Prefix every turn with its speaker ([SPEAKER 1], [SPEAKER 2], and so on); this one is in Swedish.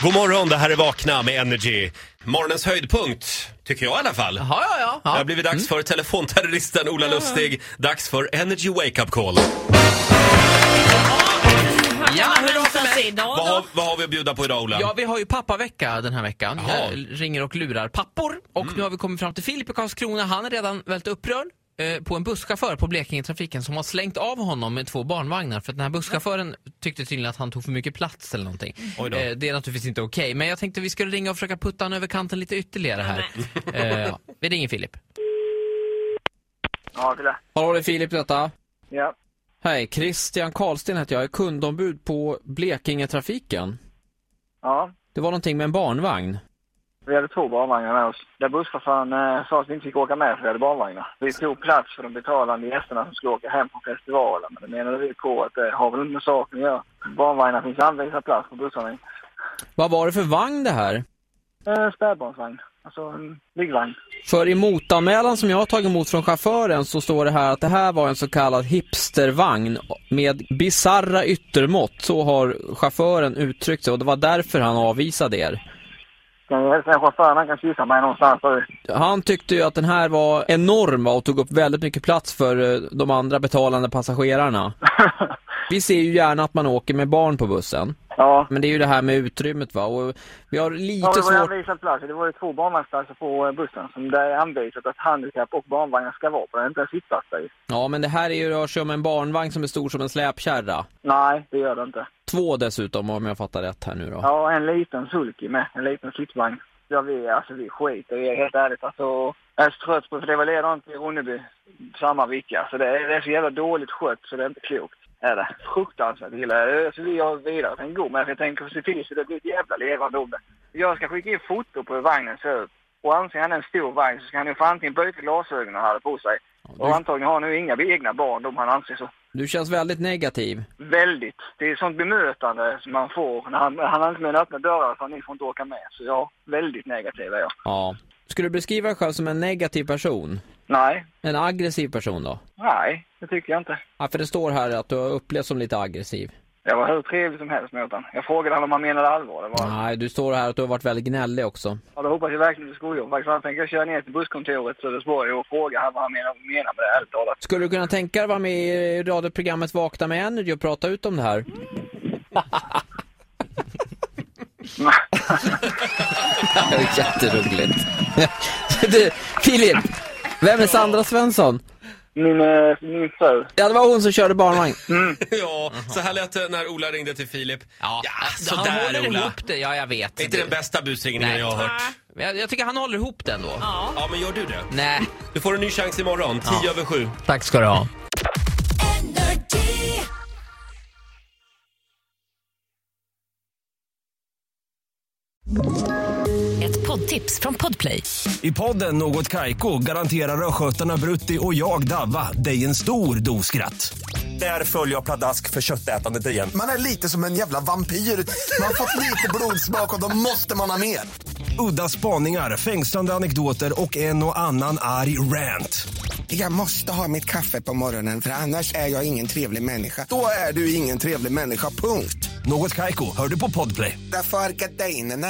[SPEAKER 1] God morgon, det här är Vakna med Energy. Morgonens höjdpunkt, tycker jag i alla fall.
[SPEAKER 2] Ja, ja, ja.
[SPEAKER 1] Det
[SPEAKER 2] ja.
[SPEAKER 1] har blivit dags för telefonterroristen Ola Lustig. Dags för Energy Wake Up Call.
[SPEAKER 2] Ja, hur låter
[SPEAKER 3] hur låter det? alltså, Idag
[SPEAKER 1] Vad har,
[SPEAKER 3] då?
[SPEAKER 1] vad har vi att bjuda på idag Ola?
[SPEAKER 2] Ja, vi har ju pappavecka den här veckan.
[SPEAKER 1] Jaha. Mm.
[SPEAKER 2] Jag ringer och lurar pappor. Och nu har vi kommit fram till Filip i Karlskrona. Han är redan väldigt upprörd eh, på en busschaufför på Blekingetrafiken som har slängt av honom med två barnvagnar. För att den här busschauffören tyckte tydligen att han tog för mycket plats eller någonting.
[SPEAKER 1] Mm. Oj då.
[SPEAKER 2] Eh, Det är naturligtvis inte okej. Men jag tänkte vi skulle ringa och försöka putta honom över kanten lite ytterligare här.
[SPEAKER 1] Mm.
[SPEAKER 2] Eh, ja. Vi ringer Filip.
[SPEAKER 4] Ja, kolla.
[SPEAKER 2] Hallå, det är Filip detta.
[SPEAKER 4] Ja.
[SPEAKER 2] Hej, Christian Karlsten heter jag. Jag är kundombud på Blekingetrafiken.
[SPEAKER 4] ja.
[SPEAKER 2] Det var någonting med en barnvagn.
[SPEAKER 4] Vi hade två barnvagnar med oss. Där busschauffören eh, sa att vi inte fick åka med för vi hade barnvagnar. Vi tog plats för de betalande gästerna som skulle åka hem från festivalen. Men det menade vi på att det har väl inte med saken att göra. Barnvagnar finns anvisad plats på bussarna.
[SPEAKER 2] Vad var det för vagn det här?
[SPEAKER 4] Eh, spädbarnsvagn. Alltså en liggvagn.
[SPEAKER 2] För i motanmälan som jag har tagit emot från chauffören så står det här att det här var en så kallad hipstervagn med bizarra yttermått. Så har chauffören uttryckt sig och det var därför han avvisade er.
[SPEAKER 4] Kan jag hälsa chauffören? Han kan kyssa mig någonstans. Så
[SPEAKER 2] Han tyckte ju att den här var enorm va, och tog upp väldigt mycket plats för eh, de andra betalande passagerarna. Vi ser ju gärna att man åker med barn på bussen.
[SPEAKER 4] ja.
[SPEAKER 2] Men det är ju det här med utrymmet va, och vi har
[SPEAKER 4] Ja,
[SPEAKER 2] lite
[SPEAKER 4] det var ju
[SPEAKER 2] svårt...
[SPEAKER 4] anvisad plats. Det var ju två barnvagnsplatser på eh, bussen som det är anvisat att handikapp och barnvagnar ska vara på. Det är inte en sittplats där ju.
[SPEAKER 2] Ja men det här är ju, rör sig om en barnvagn som är stor som en släpkärra.
[SPEAKER 4] Nej, det gör det inte.
[SPEAKER 2] Två dessutom om jag fattar rätt här nu då.
[SPEAKER 4] Ja, en liten sulky med. En liten sittvagn. Ja, vi, alltså, vi skiter i det, helt ärligt. Alltså, jag är så trött på för det var ledaren till Ronneby samma vecka. Så det är, det är så jävla dåligt skött så det är inte klokt. Är det. Fruktansvärt illa. Alltså, vi har vidare en god men jag tänker se till så det blir ett jävla levande om det. Jag ska skicka in foto på hur vagnen ser ut. Och anser han en stor vagn så ska han ju få antingen byta glasögon han hade på sig. Och antagligen har han nu inga egna barn, de han anser så.
[SPEAKER 2] Du känns väldigt negativ.
[SPEAKER 4] Väldigt. Det är sånt bemötande som man får. När han, han har inte med öppna dörrar för alltså, ni får inte åka med. Så ja, väldigt negativ är jag.
[SPEAKER 2] Ja. Skulle du beskriva dig själv som en negativ person?
[SPEAKER 4] Nej,
[SPEAKER 2] En aggressiv person då?
[SPEAKER 4] nej, det tycker jag inte.
[SPEAKER 2] Ja, för det står här att du har upplevts som lite aggressiv.
[SPEAKER 4] Jag var hur trevlig som helst mot honom. Jag frågade honom om han menade allvar. Det var,
[SPEAKER 2] Nej, du står här att du har varit väldigt gnällig också.
[SPEAKER 4] ja, då hoppas jag verkligen du skojar. Faktiskt, han tänker jag köra ner till busskontoret Sölvesborg och fråga han vad han menar, menar med det, ärligt talat.
[SPEAKER 2] Skulle du kunna tänka dig att vara med i radioprogrammet Vakna med Energy och prata ut om det här? Det är jätteroligt. Du, Filip! Vem är Sandra Svensson?
[SPEAKER 4] Min, eh, min fru.
[SPEAKER 2] Ja, det var hon som körde barnvagn.
[SPEAKER 1] Ja, så här lät det när Ola ringde till Filip. Ja, sådär
[SPEAKER 5] håller
[SPEAKER 1] Ola.
[SPEAKER 5] ihop det, ja jag vet.
[SPEAKER 1] Det är inte den bästa busringningen
[SPEAKER 5] Nej.
[SPEAKER 1] jag har hört.
[SPEAKER 5] Men jag, jag tycker han håller ihop den då.
[SPEAKER 3] Ja.
[SPEAKER 1] Ja, men gör du det?
[SPEAKER 5] Nej.
[SPEAKER 1] Du får en ny chans imorgon, 10 över 7.
[SPEAKER 5] Tack ska du ha.
[SPEAKER 3] Ett poddtips från Podplay.
[SPEAKER 6] I podden Något Kaiko garanterar östgötarna Brutti och jag, Davva, dig en stor dos skratt. Där följer jag pladask för köttätandet igen.
[SPEAKER 7] Man är lite som en jävla vampyr. Man har fått lite blodsmak och då måste man ha mer.
[SPEAKER 6] Udda spaningar, fängslande anekdoter och en och annan arg rant.
[SPEAKER 7] Jag måste ha mitt kaffe på morgonen för annars är jag ingen trevlig människa. Då är du ingen trevlig människa, punkt.
[SPEAKER 6] Något Kaiko, hör du på Podplay.
[SPEAKER 7] Därför arkadeinerna.